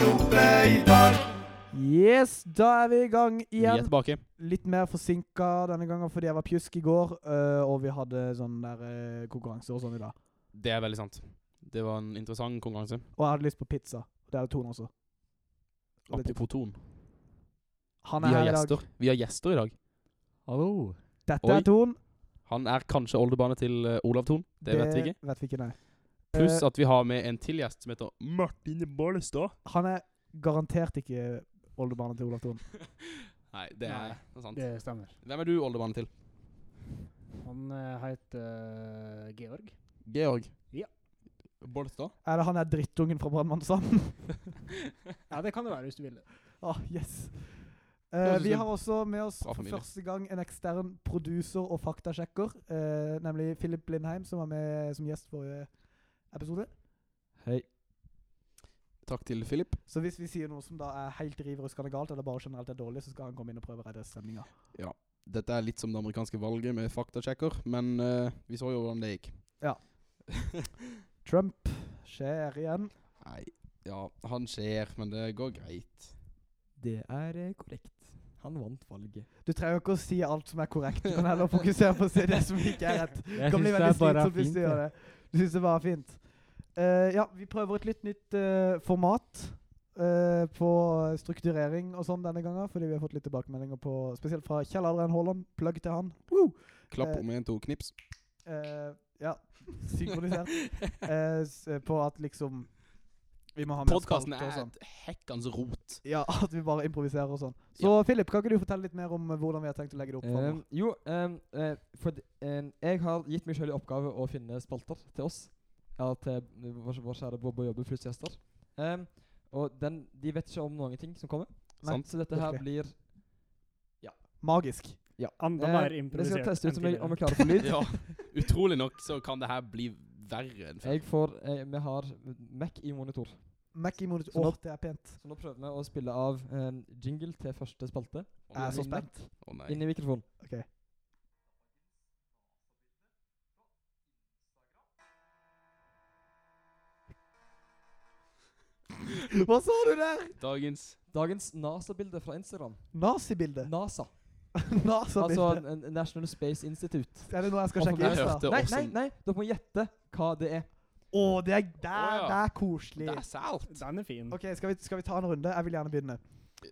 jobbe i dag. Yes, da er vi i gang Vi er igjen. tilbake. Litt mer forsinka denne gangen fordi jeg var pjusk i går, øh, og vi hadde sånn der øh, konkurranse og sånn i dag. Det er veldig sant. Det var en interessant konkurranse. Og jeg hadde lyst på pizza. Det hadde Tone også. Og det er Tone. Apropos Ton. Han Vi er har her i dag. gjester. Vi har gjester i dag. Hallo. Dette Oi, er Ton. Han er kanskje oldebarnet til eh, Olav Thon. Det, vet vi ikke. Vet vi ikke, nei. Pluss Eh, at vi har med en til gjest som heter Martine Bollestad. han er garantert ikke oldebarnet til Olav Thon. Nei, det er, Nei. det er sant. Det stemmer. Hvem er du oldebarnet til? Han eh, heter Georg. Georg. Ja. Bollestad? Er det han der drittungen fra Brannmann Sam? Ja, det kan det være hvis du vil det. Ah, yes. Eh, Høres ut vi som har også med oss bra for familie. første gang en ekstern produser og faktasjekker, eh, nemlig Philip Lindheim, som var med som gjest forrige episode. Hei. Takk til Philip. Så hvis vi sier noe som da er helt riveruskende galt, eller bare generelt er dårlig, så skal han komme inn og prøve å redde stemninga. Dette er litt som det amerikanske valget med faktasjekker, men eh, vi så jo hvordan det gikk. Ja. Trump skjer igjen. Nei, ja, han skjer, men det går greit. Det er eh, korrekt. Han vant valget. Du trenger jo ikke å si alt som er korrekt, du kan heller fokusere på å si det som ikke er rett. Jeg kan bli veldig synes er bare slitsomt hvis du fint, gjør jeg. det. Du syns det var fint. Eh, ja, vi prøver et litt nytt eh, format eh, på strukturering og sånn denne gangen, fordi vi har fått litt tilbakemeldinger på Spesielt fra Kjell Adrian Haaland. Plugg til han. Woo! Klapp Eh, om igjen to knips. Eh, ja, synkronisert. Eh, s- eh, på at liksom Vi må ha mer Podkasten spalte og er sånn. et hekkans rot. Ja, at vi bare improviserer og sånn. Så Philip, kan ikke du fortelle litt mer om eh, hvordan vi har tenkt å legge det opp? Um, fremover? jo, um, eh, for d- em, jeg har gitt meg selv i oppgave å finne spalter til oss. Ja, til eh, vår, vår kjære Bob og Jobbe pluss gjester. Um, og den, de vet ikke om noen ting som kommer. Nei, Sant? Så dette her virkelig. blir Magisk. Enda eh, mer Vi skal improvisert. teste enn ut om, vi- om vi tidligere. klarer å få lyd. Ja, utrolig nok så kan det her bli verre enn før. Jeg får, eh, vi har Mac i monitor. Mac i monitor. Så nå- Åh, det er pent. Så nå prøver vi å spille av em, jingle til første spalte. Jeg er så Min Mac. spent. Å nei. Inn i mikrofonen. Ok. Hva sa du der? Dagens Dagens NASA-bilde fra Instagram. Nazibilde. NASA. Altså Nazibilde. n- National Space Institute. Er det noe jeg skal Og for sjekke meg ut? da? hørte- Nei, også- nei, nei, dere må gjette hva det er. Å, det er der, Å, ja. det er koselig. Det er sært! Den er fin. Ok, skal vi, skal vi ta en runde? Jeg vil gjerne begynne.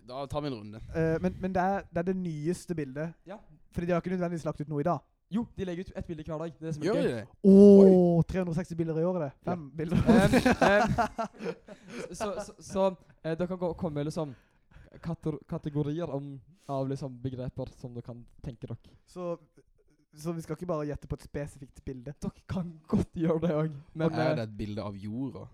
Da tar vi en runde. Eh, men men det, er, det er det nyeste bildet. Ja. Fordi de har ikke nødvendigvis lagt ut noe i dag. Jo, de legger ut ett bilde hver dag. Det er det som er Gjør vi gøy. det? Å, 360 bilder i året, det. Fem bilder. Ehm, Så, så, så eh, dere kan gå, komme med liksom kator, kategorier om, av liksom begreper som dere kan tenke dere. Så, så vi skal ikke bare gjette på et spesifikt bilde. Dere kan godt gjøre det òg, men Er eh, det et bilde av jorda?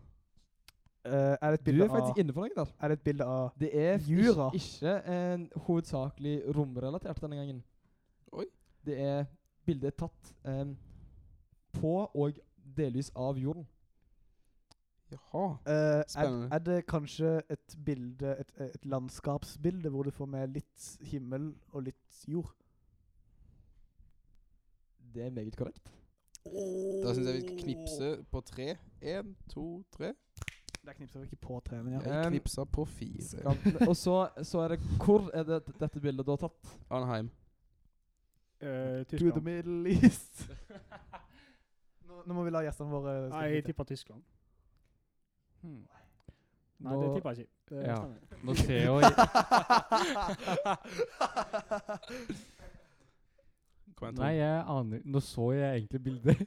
Eh, er, det et du bilde er av, faktisk inne på noe der. er det et bilde av Det er Jura. ikke, ikke eh, hovedsakelig romrelatert denne gangen. Oi. Det er bildet tatt em, på og delvis av jorden. Jaha. Eh, er, Spennende. er det kanskje et bilde, et, et landskapsbilde, hvor du får med litt himmel og litt jord? Det er meget korrekt. Da syns jeg vi skal knipse på tre. Én, to, tre. Der knipser vi ikke på treene. Ja. Jeg Um, knipsa på fire. Skal, og så, så er det Hvor er det dette bildet da tatt? Anheim. Eh, To the Tyskland. Middle East. nå, nå må vi la gjestene våre Nei, jeg tipper Tyskland. Nei, det Nå- tipper jeg ikke. Det Ja. stemmer. Nå ser jo Kom igjen, Tom. Nei, jeg aner Nå så jeg egentlig bildet.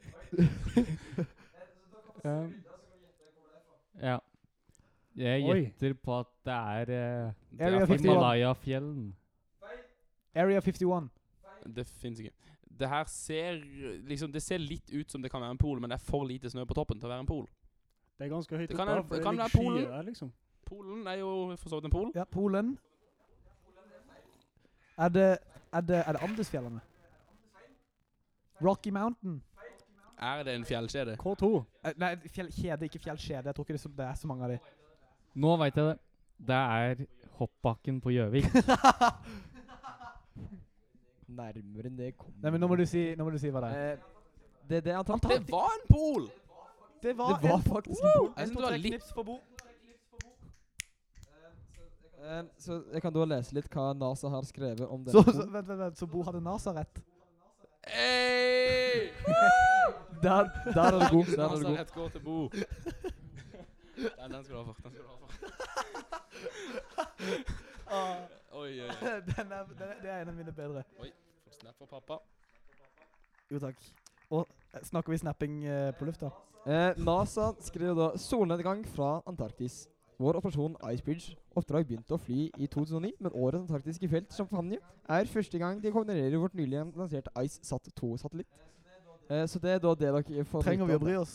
um, ja. Jeg Oi. gjetter på at det er eh, Det Area er faktisk- 51. Himalaya-fjellen. Area 51. Det fins ikke. Det her ser liksom Det ser litt ut som det kan være en pol, men det er for lite snø på toppen til å være en pol. Det er ganske høyt Det kan oppe, være- for det det kan ligger være skyer Polen. der, liksom. Polen er jo for så vidt en pol. Ja, Polen. Er det, er det, er det Andesfjellene? Rocky Mountain? Er det en fjellkjede? K2. Eh, nei, fjellkjede, ikke fjellkjede. Jeg tror ikke det er så, det er så mange av de. Nå veit jeg det. Det er hoppbakken på Gjøvik. Nærmere enn det kommer Nei, men nå må du si, nå må du si hva det er. Eh, Det er det han tatt. Det var en pol! Det Det var faktisk en pol. Jeg synes det var litt på bord. Em, Eh, så jeg kan da lese litt hva NASA har skrevet om denne. Så, så, boken. vent, vent, vent, så Bo hadde NASA rett? Hey! der, der er du god. Der er du god. Nazareth går til Bo. Den, den skal du ha for. Den skal du ha for. Ah, Oi, oi, oi. den er, den er, det er en av mine bedre. Får Snap for pappa. Jo takk. Og eh, snakker vi snapping eh, på lufta? Eh, NASA skriver da 'Solnedgang fra Antarktis'. Vår operasjon Icebridge oppdrag begynte å fly i 2009, men årets antarktiske felt, champagne, er første gang de kombinerer vårt nylig lanserte IceSat-2-satellitt. Eh, så det er da det dere får Trenger vi vite å om bry oss?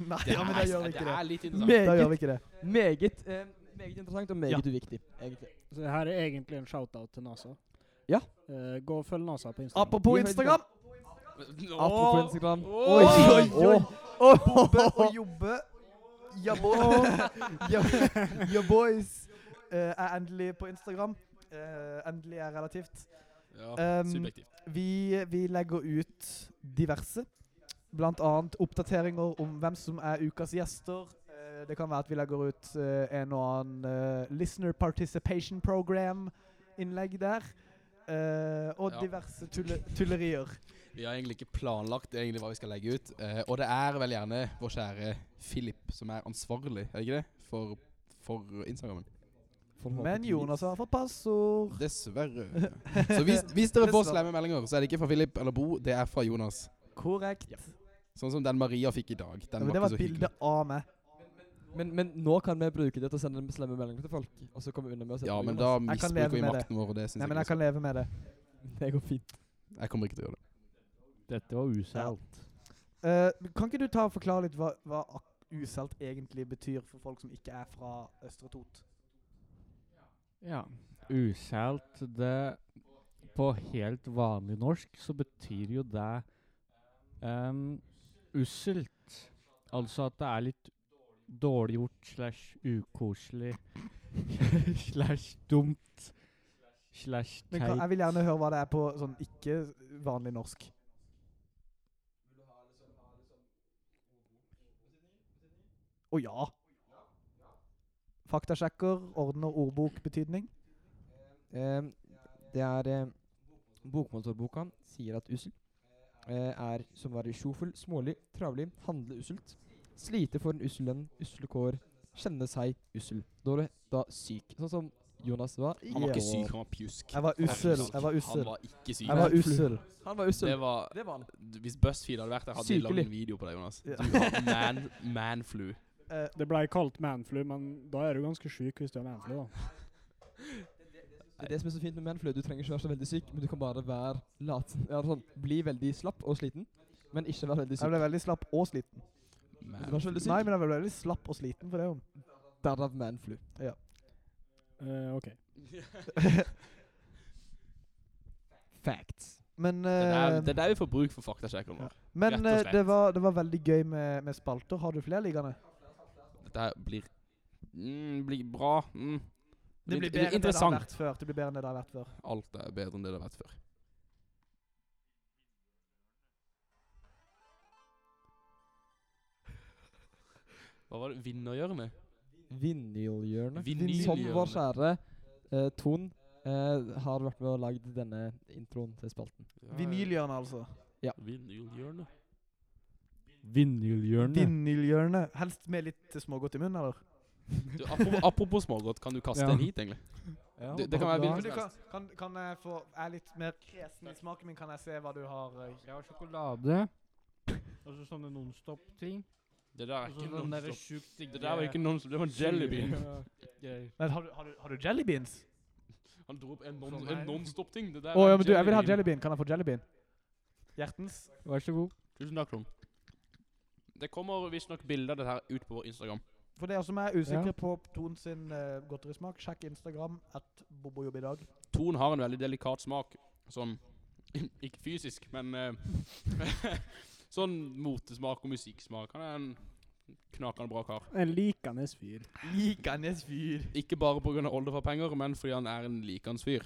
Nei, ja, men da er- gjør vi ikke det. er litt det. interessant. Da Meget, gjør vi ikke det. meget, eh, meget interessant og meget Ja. uviktig, egentlig. Så det her er egentlig en shout-out til NASA. Ja. Eh, gå og følg NASA på Instagram. Apropos Vi har- Instagram. Nå- Apropos Instagram. Åh! Oi, oi, oi. Jobbe og jobbe. Jabbo. Your boys eh, er endelig på Instagram. Eh, endelig er relativt. Ja, Um, subjektivt. Vi, vi legger ut diverse. Blant annet oppdateringer om hvem som er ukas gjester. Eh, Det kan være at vi legger ut eh, en og annen eh, Listener Participation Program-innlegg der. Eh, og Ja. diverse tulle tullerier. Vi har egentlig ikke planlagt egentlig hva vi skal legge ut. eh, og det er vel gjerne vår kjære Philip som er ansvarlig, er det ikke det? For, for Instagrammen. Men Jonas har fått passord. Dessverre. Så hvis, hvis dere får slemme meldinger, så er det ikke fra Philip eller Bo, det er fra Jonas. Korrekt. Sånn som den Maria fikk i dag. Ja, Den men det var var ikke et så hyggelig. bilde av meg. Men, men nå kan vi bruke det til å sende en slemme meldinger til folk, og så kommer vi unna med å sette Ja, på men da Jonas. altså. Jeg kan misbruker leve vi med makten vår, og det syns Nei, jeg men jeg ikke. kan leve med det. Det går fint. er så- Jeg kommer ikke til å gjøre det. Dette var useilt. Eh, kan ikke du ta og forklare litt hva, hva ak- uselt egentlig betyr for folk som ikke er fra Østre Tot? Ja. Useilt det På helt vanlig norsk så betyr jo det um, usselt. Altså at det er litt dårliggjort slash ukoselig slash dumt slash Men kan, teit. jeg vil gjerne høre hva det er på sånn ikke vanlig norsk. Å ja. Faktasjekker ordner ordbokbetydning. Eh, det er eh, Bokmotorboka sier at ussel eh, er som å være sjofull, smålig, travlig, handle usselt, slite for en ussel lønn, usle kår, kjenne seg ussel. Da er du da syk. Sånn som Jonas var. i- Han var ikke Ja. syk, han var pjusk. Jeg var ussel. Jeg var Han ussel. var ikke syk. Jeg var ussel. Han var ussel. Det var Det var han. Hvis BuzzFeed hadde vært der, hadde de lagd Sykelig. en video på deg, Jonas. Ja. Du har man, manflu. Eh, Det ble kalt manflu, men da er du ganske syk hvis du er manflu, da. Det er det som er så fint med manflu. Du trenger ikke være så veldig syk, men du kan bare være lat. Ja, sånn, bli veldig slapp og sliten, men ikke være veldig Jeg syk. ble veldig slapp og sliten. Du var så veldig Nei, syk. men jeg ble veldig slapp og sliten for det. jo. Derav manflu. Eh, OK. Facts. Men, Det er eh, der- det er der vi får bruk for faktasjekkeren vår. rett men og eh, slett. det, var, det var veldig gøy med, med spalter. Har du flere liggende? Dette her blir mm, Blir bra. Mm. Det blir Litt bedre enn det det har interessant. vært før. Det blir bedre enn det det har vært før. Alt er bedre enn det det har vært før. Hva var det? Vinnerhjørnet? Vinylhjørnet. Vinylhjørnet. Som vår kjære eh, Ton eh, har vært med og lagd denne introen til spalten. Vinylhjørnet, altså. Vinylhjørnet. Vindhjulhjørnet. Vinylhjørnet. Helst med litt eh, smågodt i munnen, eller? Du, apropos, apropos smågodt, kan du kaste Ja. en hit, egentlig? det- det kan være Men hvilken- du kan, kan, kan jeg få Jeg er litt mer kresen i smaken min. Kan jeg se hva du har eh, Jeg har sjokolade. Og så sånne Nonstop-ting. Det der er Og så ikke Altså, den noen derre stopp. sjukt digge Det der var ikke noen stopp, det var en jellybean. Men har du, har du, har du jellybeans? Han dro opp en For non- meg. en nonstop-ting. Det der Å ja, men du, jeg vil ha jellybean. jellybean. Kan jeg få jellybean? Hjertens. Vær så god. Tusen takk, Trond. Det kommer visstnok bilder av det her ut på vår Instagram. For dere som er usikre Ja. på Ton sin eh, godterismak, sjekk Instagram at Bobojobb i dag. Ton har en veldig delikat smak. Sånn Ikke fysisk, men eh, Sånn motesmak og musikksmak. Han er en knakende bra kar. En likende fyr. Likende fyr. Ikke bare pga. oldefarpenger, men fordi han er en likende fyr.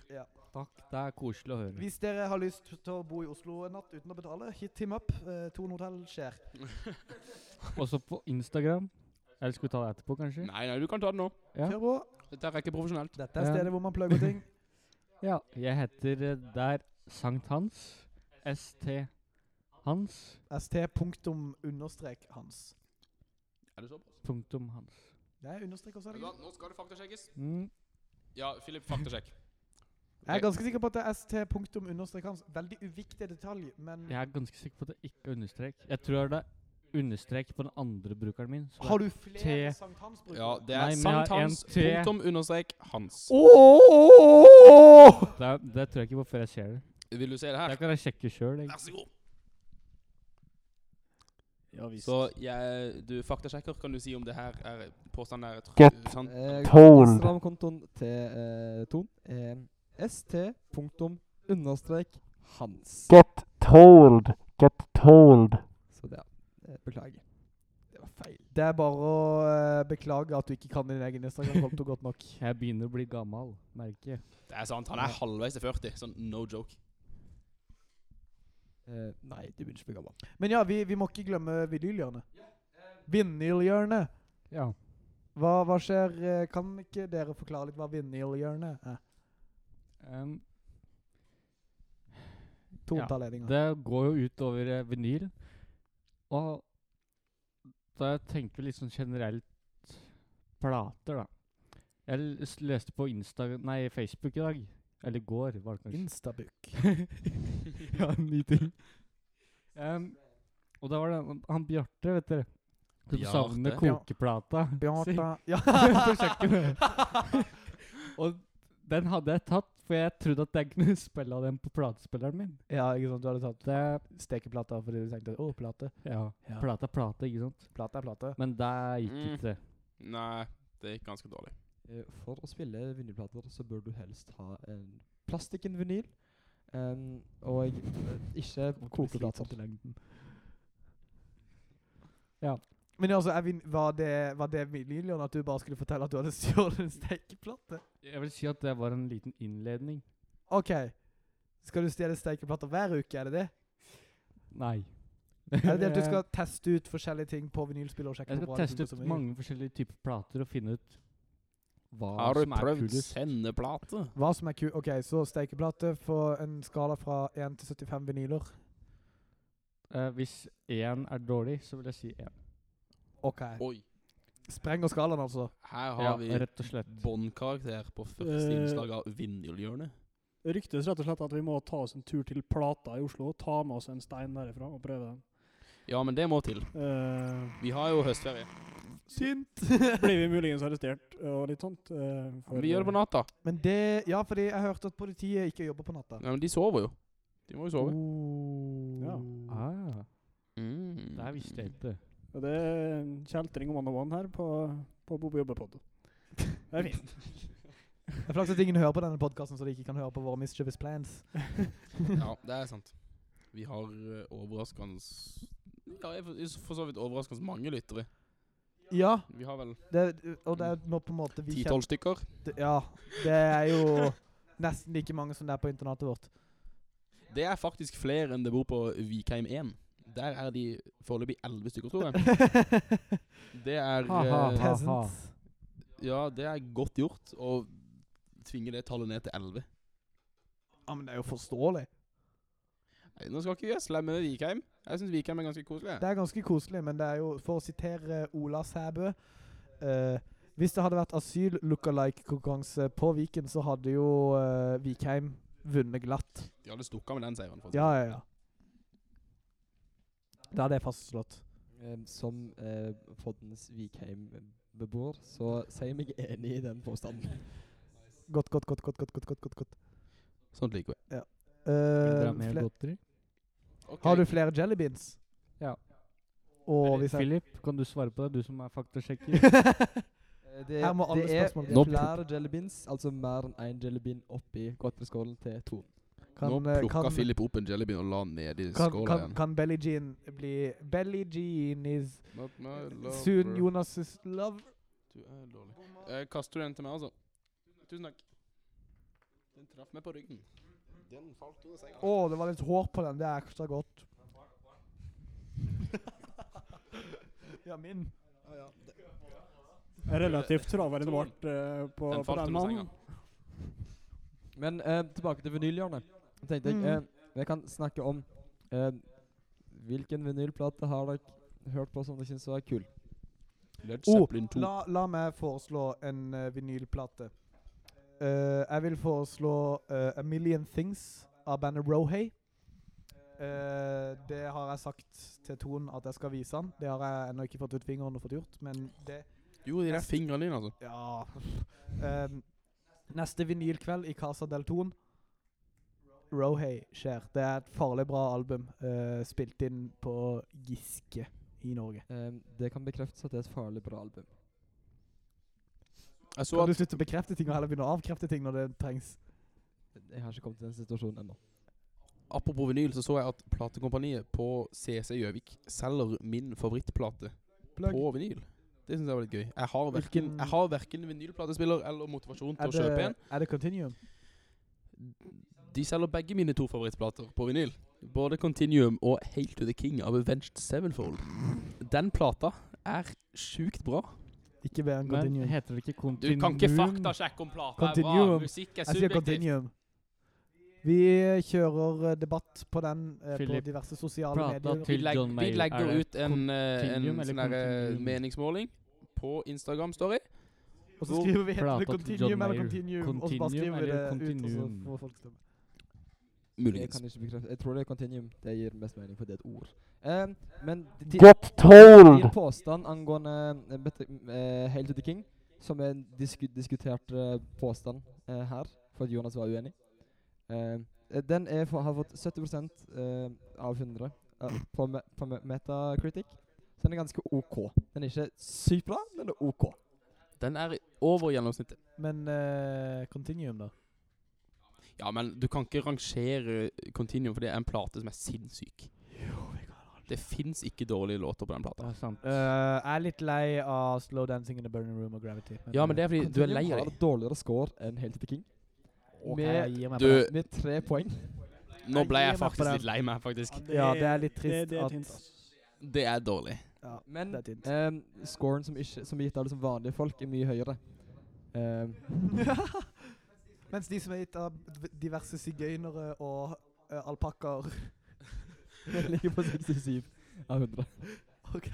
Takk, det er koselig å høre. Hvis dere har lyst til å bo i Oslo en natt uten å betale, hit him up. Eh, Ton hotell skjer. Også på Instagram. Eller skal vi ta det etterpå, kanskje? Hm? Nei, nei, du kan ta det nå. Ja. Kjør på. Dette er ikke profesjonelt. Dette er stedet hvor man plugger ting. Ja, jeg heter eh, der Sankt Hans. ST Hans. ST punktum understrek hans. Er du såpass? Punktum Hans. Det er understrek også, er det ikke? Nå skal det faktasjekkes. Mm. Ja, Philip, faktasjekk. Jeg er ganske sikker på at det er ST punktum understrek hans. Veldig uviktig detalj, men Jeg er ganske sikker på at det ikke er understrek. Jeg tror det er understrek på den andre brukeren min. så det har du T. flere sankthansbrukere? Ja, det Nei, er men jeg har sankthans, en T. punktum, understrek, hans. Det, er- det tror jeg ikke på før jeg ser det. Vil du se det Det her? kan jeg sjekke sjøl. Vær så god. Ja visst. Så jeg, du faktasjekker, kan du si om det her er påstanden er tr- sånn? Get. sann? Eh. Instagram-kontoen til eh, Ton. Eh, st. Punktum understrek Hans. Get told. Get told. Så det, ja. Eh, Beklager. Det var feil. Det er bare å eh, beklage at du ikke kan din egen Instagram-konto godt nok. Jeg begynner å bli gammel, merker jeg. Det er sant, han er halvveis til 40. Sånn no joke. Eh, nei, du begynner ikke å bli gammel. Men ja, vi, vi må ikke glemme vinylhjørnet. Vinylhjørnet. Ja. Hva, hva skjer? eh, Kan ikke dere forklare litt hva vinylhjørnet er? Um, Ja, Tonetalledninga. det går jo ut over eh, vinyl. Og da jeg tenker litt sånn generelt plater, da. Jeg l- leste på Insta Nei, Facebook i dag. Eller i går, var det kanskje. Instabuk. ja, ny ting. Em, og da var det han- han Bjarte, vet dere. Som Bjarte? savner Bjar- kokeplata. si, Bjarte Ja. på kjøkkenet. og den hadde jeg tatt, for jeg trodde at jeg kunne spille av den på platespilleren min. ja, ikke sant. Du hadde tatt Det, stekeplata fordi du tenkte å, plate. ja, Ja. Plate er plate, ikke sant? Plate er plate. Men der gikk Mm. ikke det. Nei, det gikk ganske dårlig. Eh, For å spille vinylplater så bør du helst ha en plastikken vinyl. em, og eh, ikke kokeplater. i lengden. Ja. Men altså, er vin- var det, var det vinylhjørnet at du bare skulle fortelle at du hadde stjålet en stekeplate? Jeg vil si at det var en liten innledning. OK. Skal du stjele stekeplater hver uke, er det det? Nei. Er det det at du skal teste ut forskjellige ting på vinylspiller og sjekke Jeg hvor skal bra det teste funker ut som mange forskjellige typer plater og finne ut hva Har du som er prøvd kulest. sendeplate? vinil? Hva som er ku... OK, så stekeplate for en skala fra 1 til 75 vinyler. Eh, hvis én er dårlig, så vil jeg si én. OK. Oi. Sprenger skalaen, altså. Her Ja, har vi rett og slett. båndkarakter på første Eh. innslag av Vindelhjørnet. Det ryktes rett og slett at vi må ta oss en tur til Plata i Oslo og ta med oss en stein derifra og prøve den. Ja, men det må til. Eh, Vi har jo høstferie. Synt! blir vi muligens arrestert og litt sånt? eh, for- Vi gjør det på natta. Men det Ja, fordi jeg hørte at politiet ikke jobber på natta. Nei, men de sover jo. De må jo sove. Oh. Ja. Ah, Mm. det her visste jeg ikke. Og eh, Det er en kjeltring om one on one her på, på Bob Eh, Jobbepod. Det er fint. Det er flaks at ingen hører på denne podkasten, så de ikke kan høre på våre mischievous plans. Ja, det er sant. Vi har eh, overraskende Ja, jeg for- jeg for så vidt overraskende mange lyttere. Ja, Vi har vel det, og det er nå på en måte vi ti-tolv stykker. kjente- Ja, det er jo nesten like mange som det er på internatet vårt. Det er faktisk flere enn det bor på Vikheim 1. Der er de foreløpig elleve stykker, tror jeg. Det er Ha, eh, ha. Peasants. Ja, det er godt gjort å tvinge det tallet ned til elleve. Ja, men det er jo forståelig. Nei, Nå skal ikke vi være slemme med Vikheim. Jeg syns Vikheim er ganske koselig. Det er ganske koselig, men det er jo, for å sitere Ola Sæbø eh, Hvis det hadde vært asyl-lookalike-konkurranse på Viken, så hadde jo eh, Vikheim vunnet glatt. De hadde stukket av med den seieren. for å si Ja, ja, ja. Da er det fastslått. Em, som eh, poddens Vikheim-beboer, så sier jeg meg enig i den påstanden. Godt, godt, godt, godt, godt, godt, godt, godt, godt. det. Sånt liker vi. Vil dere Eh, ha mer fle- godteri? Ok. Har du flere jellybeans? Ja. Og hvis jeg Philip, kan du svare på det? Du som er faktasjekker. Eh, Det, Her må alle det er eh, spørsmål- Nå- flere jellybeans, altså mer enn én jellybean oppi godteriskålen til Ton. kan, Nå eh, plukka kan, Philip opp en jellybean og la den nedi kan, skåla kan, igjen. kan Belly Jean bli Belly Jean is Not my lover. soon Jonas' love Du er dårlig. Eh, kaster du den til meg, altså? Tusen takk. Den traff meg på ryggen. Den falt under senga. Å, det var litt hår på den. Det er ekstra godt. ja, min. Relativt travel det ble eh, på, Den på falt den under mannen. Men eh, tilbake til vinylhjørnet. Da Tenkte jeg, Mm. eh, jeg kan snakke om eh, hvilken vinylplate har dere hørt på som dere syns var kul? Led Oh, Zeppelin 2. La, la meg foreslå en eh, vinylplate. Eh, jeg vil foreslå eh, A Million Things av bandet Rohay. Eh, det har jeg sagt til Ton at jeg skal vise han. Det har jeg ennå ikke fått ut fingeren og fått gjort, men det Jo, de der fingrene dine, altså. Ja. Ehm, neste vinylkveld i Casa del Ton. Rohay skjer. Det er et farlig bra album, eh, spilt inn på Giske i Norge. Eh, det kan bekreftes at det er et farlig bra album. Jeg så Kan du at slutte å bekrefte ting og heller begynne å avkrefte ting når det trengs? Jeg har ikke kommet til den situasjonen ennå. Apropos vinyl, så så jeg at platekompaniet på CC Gjøvik selger min favorittplate på vinyl. Det syns jeg var litt gøy. Jeg har verken, Hvilken- jeg har verken vinylplatespiller eller motivasjon til Er å kjøpe det, en. er det Continuum? De selger begge mine to favorittplater på vinyl. Både Continuum og Hail to the King av Avenged Sevenfold. Den plata er sjukt bra. Ikke bedre enn Men Continuum. heter det ikke Du Continuum? kan ikke faktasjekke om plata er bra. Continuum. Musikk er Jeg sier subjektivt. Continuum. Vi kjører eh, debatt på den eh, på Philip, diverse sosiale prata medier. til Vi, legg, John vi Mayer. Er legger det ut en, eh, en Continuum eller sånn der, eh, Continuum? meningsmåling på Instagram Story. Og så skriver vi heter Prata det til John Continuum eller Mayer. Continuum, og så bare Continuum skriver vi eller det ut, og så Continuum? får folk stemme. Jeg, Muligens. kan ikke bekrefte. jeg tror det er Continuum. Det gir mest mening, for det er et ord. Eh, men de- de- Get Din told. påstand angående eh, bet- eh, Hail to the King, som er en disku diskutert eh, påstand eh, her, for at Jonas var uenig, eh, eh, den er for, har fått 70 eh, av 100 eh, på, me på me Metacritic. Så den er ganske OK. Den er ikke sykt bra, men den er Eh, OK. Den er over gjennomsnittet. Men eh, Continuum, da? Ja, men du kan ikke rangere Continuum, for det er en plate som er sinnssyk. Det fins ikke dårlige låter på den plata. Ja, sant. Eh, jeg er litt lei av Slow Dancing in the Burning Room og Gravity. Ja, men det er fordi du er Continuum lei av har dem. dårligere score enn Hail to the King, eh, Ok, med- jeg gir meg på Du, det. med tre poeng. nå ble Jeg gir jeg meg på faktisk den. litt lei meg, faktisk. Ja, det er litt trist det, det er at- et hint, altså. ass. Det er dårlig. Ja, Men det er tynt. eh, scoren som, ikke, som er gitt av liksom vanlige folk, er mye høyere. Eh, Mens de som er gitt av d- diverse sigøynere og uh, alpakkaer den ligger på 67 av 100. OK.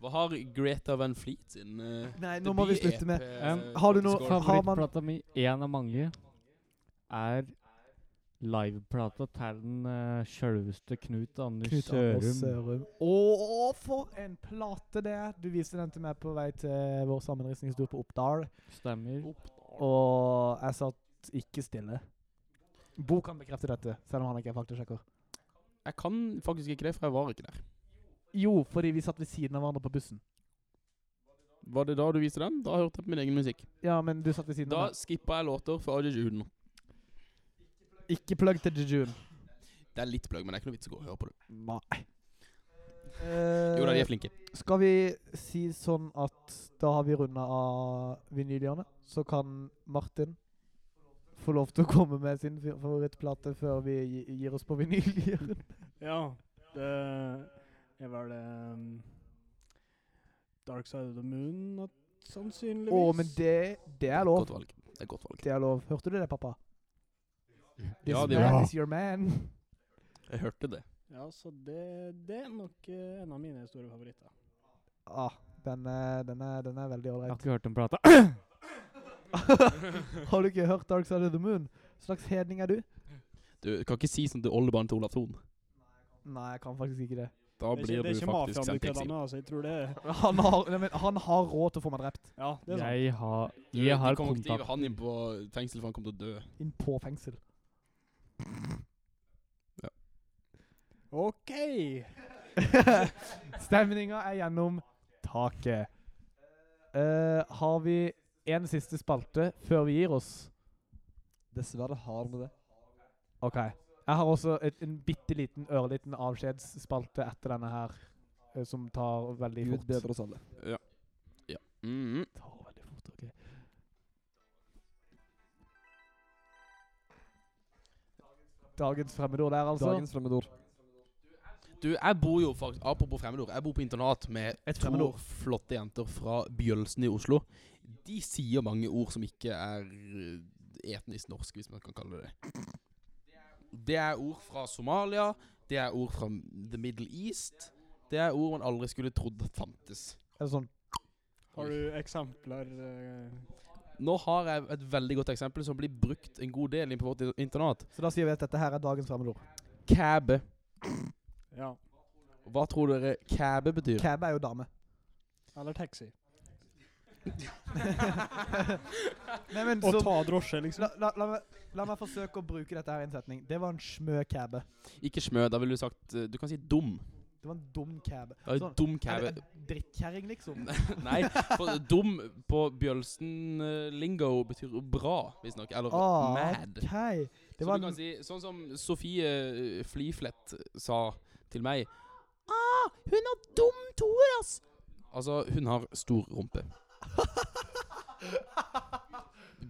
Hva har Greta Van Fleet sin eh, Nei, nå må vi debut-EP, slutte med eh, har du noe- score? har- man- Favorittplata mi, én av mange, er liveplata til den uh, sjølveste Knut Anders Knut Anders Sørum. Sørum. Å, for en plate det er! Du viste den til meg på vei til vår sammenristningstur på Oppdal, Stemmer. Oh, og jeg satt ikke stille. Bo kan bekrefte dette, selv om han ikke er faktasjekker. Jeg kan faktisk ikke det, for jeg var ikke der. Jo, fordi vi satt ved siden av hverandre på bussen. Var det da du viste den? Da hørte jeg på min egen musikk. Ja, men du satt ved siden Da av meg. skippa jeg låter fra Audition. Ikke plugg til Jejun. Det er litt plugg, men det er ikke noe vits å gå og høre på det. Nei. Jo da, de er flinke. Eh, Eh, Skal vi si sånn at da har vi runda av vinylhjørnet, så kan Martin få lov til å komme med sin fi- favorittplate før vi gi- gir oss på vinylhjørnet. Ja, det er vel ehm, Dark Side of the Moon, at- sannsynligvis. Å, men det, det er lov. Godt valg. Det er godt valg. Det er lov. Hørte du det, pappa? This Ja, det man gjorde is your man. Jeg hørte det. Ja, så det, det er nok eh, en av mine store favoritter. Ah, den er, den er, den er veldig Jeg har ålreit. ikke hørt den plata. Har du ikke hørt Dark Side of the Moon? Slags hedning er du? Du kan ikke si sånn til oldebarn til Olav Thon. Nei, jeg kan faktisk ikke det. Da Det er ikke, blir det er du ikke faktisk mafiaen du sendt til kødder eksil. med, altså. Jeg tror det er Han har, nei, men han har råd til å få meg drept. Ja, det er sant. Jeg har, Du, jeg du har kommer ikke til å hive kontakt han inn på fengsel, for han kommer til å dø. Inn på fengsel. OK! Stemninga er gjennom taket. Eh, har vi en siste spalte før vi gir oss? Dessverre har vi det. OK. Jeg har også et, en bitte liten, ørliten avskjedsspalte etter denne her, eh, som tar veldig Gud fort. bedre oss alle. Ja. ja. Mm, Mhm. Tar veldig fort, ok. Dagens altså. fremmedord der, altså. Dagens fremmedord. Du, jeg bor jo faktisk Apropos fremmedord. Jeg bor på internat med Et to fremmedord. flotte jenter fra Bjølsen i Oslo. De sier mange ord som ikke er eh, etnisk norske, hvis man kan kalle det det. Det er ord fra Somalia. Det er ord fra The Middle East. Det er ord man aldri skulle trodd fantes. Er det sånn Har du eksempler? eh, Nå har jeg et veldig godt eksempel som blir brukt en god del inn på vårt internat. Så da sier vi at dette her er dagens fremmedord. Kæbe. Ja. Hva tror dere kæbe betyr? Cab er jo dame. Eller taxi. Nei, men Å så ta drosje, liksom. la, la, la, meg, la meg forsøke å bruke dette her i en setning. Det var en smø cabbe. Ikke smø. Da ville du sagt eh, Du kan si dum. Det var en dum cabbe. Ja, Sånn. Dum Er kæbe. det en drittkjerring, liksom? Nei, for dum på Bjølsen-lingo betyr bra, visstnok. Eller Ah, mad. OK. Det Så var du en kan si, sånn som Sofie eh, Fliflett sa til meg Ah, hun har dum toer, ass! Altså, hun har stor rumpe.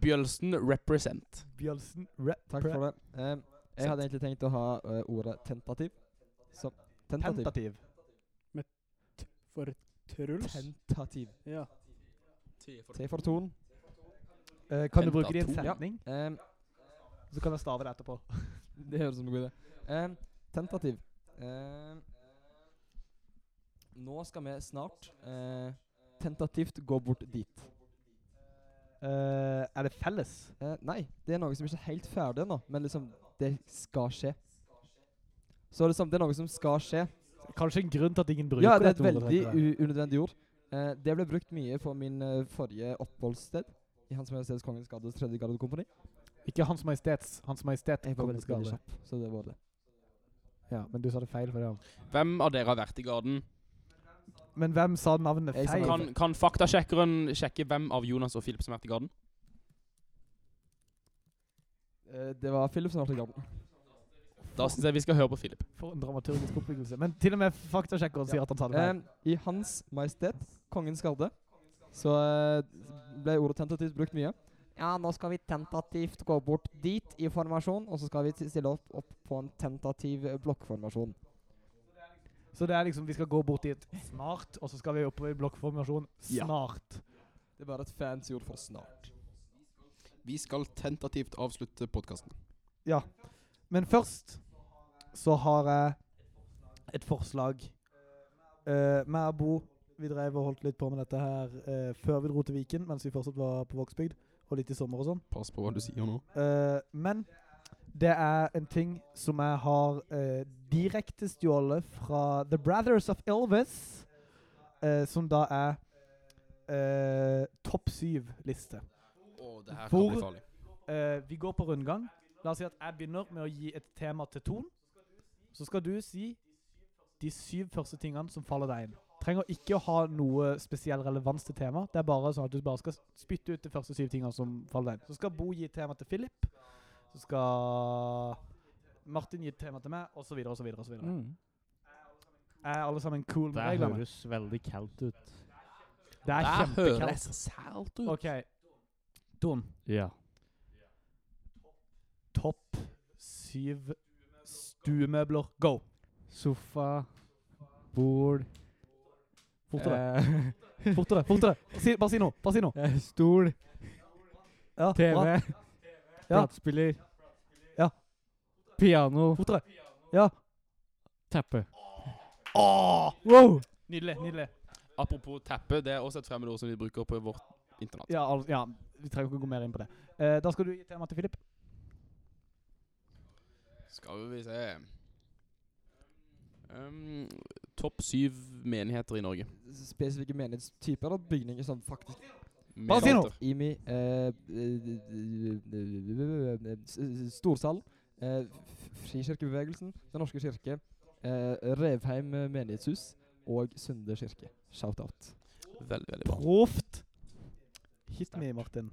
Bjølsen represent. Bjølsen rep. Takk for det. Ehm, jeg hadde egentlig tenkt å ha eh, ordet tentativ. Som tentativ. Tentativ. For Truls. Tentativ. Ja. T for ton. Eh, kan du bruke det i en Tentator. Ja. setning? Ehm, Så kan jeg stave det etterpå. det høres ut som en god idé. Ehm, tentativ. Ehm, nå skal vi snart eh, tentativt gå bort dit. Eh, er det felles? Eh, nei, det er noe som ikke er helt ferdig ennå, men liksom, det skal skje. Så liksom, det er noe som skal skje. Kanskje en grunn til at ingen bruker Ja, det er dette et ordet, veldig tenker jeg. u unødvendig ord. Eh, det ble brukt mye på min eh, forrige oppholdssted. I Hans Majestets Kongens Gardes Tredje Gardekompani. Ikke Hans Majestets. Hans Majestet Jeg var Kongens veldig veldig Garde. kjapp, så det var det. Ja, men du sa det feil. for det ja. Hvem av dere har vært i garden? Men hvem sa navnet Jeg sa feil? Kan, kan faktasjekkeren sjekke hvem av Jonas og Philip som har vært i garden? Eh, det var Philip som var til garden. Da syns jeg vi skal høre på Philip. For en dramaturgisk oppbyggelse. Men til og med faktasjekkeren sier at han sa det feil. Eh, I Hans Majestet Kongens Garde så eh, ble ordet tentativt brukt mye. Ja, nå skal vi tentativt gå bort dit i formasjon, og så skal vi stille opp, opp på en tentativ eh, blokkformasjon. Så det er liksom vi skal gå bort dit snart, og så skal vi oppover i blokkformasjon Ja. snart. Det er bare et fancy ord for snart. Vi skal tentativt avslutte podkasten. Ja. Men først så har jeg et forslag. Uh, meg og Bo, vi drev og holdt litt på med dette her eh, før vi dro til Viken, mens vi fortsatt var på Vågsbygd, og litt i sommer og sånn. Pass på hva du sier nå. Eh, men det er en ting som jeg har eh, direkte stjålet fra The Brothers of Elvis, eh, som da er eh, topp syv-liste. det her Hvor- kan bli farlig. Eh, vi går på rundgang. La oss si at jeg begynner med å gi et tema til Ton. Så skal du si de syv første tingene som faller deg inn. Trenger ikke å ha noe spesiell relevans til tema. Det er bare sånn at du bare skal spytte ut de første syv tingene som faller deg inn. Så skal Bo gi et tema til Philip. Så skal Martin gi et tema til meg, osv., osv., osv. Mm. Er alle sammen cool med Det reglene? høres veldig kaldt ut. Det er kjempekaldt. sært ut. OK. Ton. Ja. Topp syv stuemøbler. Go! Sofa, bord Fortere. eh, Fortere, fortere. Si, bare si noe. Bare si noe. eh, Stol, Ja, TV, bra. platespiller, Ja. piano, Fortere. Ja. teppe. Wow! Nydelig. nydelig. Apropos teppe, det er også et fremmedord som vi bruker på vårt internat. Ja, al ja, vi trenger ikke gå mer inn på det. Eh, da skal du gi tema til Philip. Skal vi se um, Topp syv menigheter i Norge. Spesifikke menighetstyper eller bygninger som faktisk Bare si noe! Menigheter. Imi eh, eh, s- s- Storsal, eh, f- Frikirkebevegelsen, Den norske kirke, eh, Revheim eh, menighetshus og Sunde kirke. Shout-out. Veldig, veldig bra. Proft. Hit me, Martin.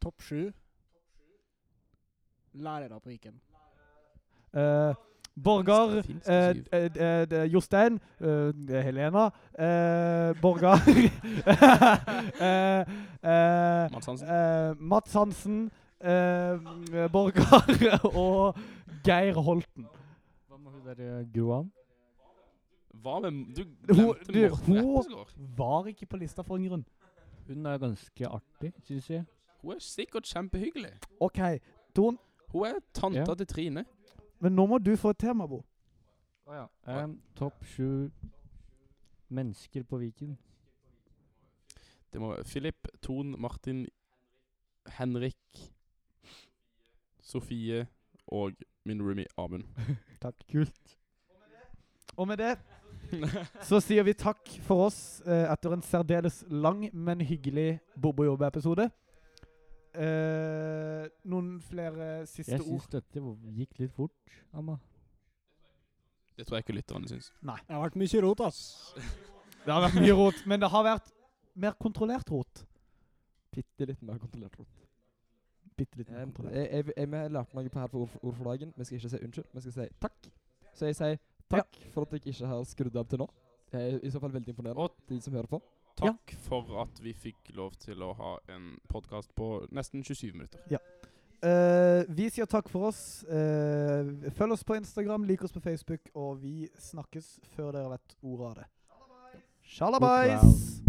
Topp sju. Lærere på Viken. Eh, Borgar. Finsk Eh, syv. eh, eh, eh, Jostein. Eh, Helena. Eh, Borgar. eh, eh, Mads Hansen. eh, Mats Hansen. Eh, Borgar og Geir Holten. Hva med Og hun derre Groan. Hva med Du Hun- glemte du, Morten hun- Eppesgaard. Var ikke på lista for en grunn. Hun er ganske artig, syns jeg. Hun er sikkert kjempehyggelig. OK, Ton, Hun er tanta Ja. til Trine. men nå må du få et tema, Bo. Um, Topp sju mennesker på Viken. Det må være Philip, Ton, Martin, Henrik, Sofie og min roomie Amund. Takk. Kult. Og med det så sier vi takk for oss eh, etter en særdeles lang, men hyggelig Bobo-jobb-episode. Eh, noen flere siste Jeg ord? syns dette v- gikk litt fort, Amma. Det tror jeg ikke lytterne syns. Det har vært mye rot, ass. Det har vært mye rot, men det har vært mer kontrollert rot. Bitte litt mer kontrollert. Bitte litt Eh, mer Jeg, kontrollert. jeg, jeg, jeg lærte noe på her på ord, ord for dagen. Vi skal ikke si unnskyld, vi skal si takk. Så jeg sier takk for at jeg ikke har skrudd av til nå. Jeg er i så fall veldig imponerende. Og- Og de som hører på. Takk for at vi fikk lov til å ha en podkast på nesten 27 minutter. Eh, vi sier takk for oss. Eh, følg oss på Instagram, lik oss på Facebook, og vi snakkes før dere vet ordet av det. Sjalabais!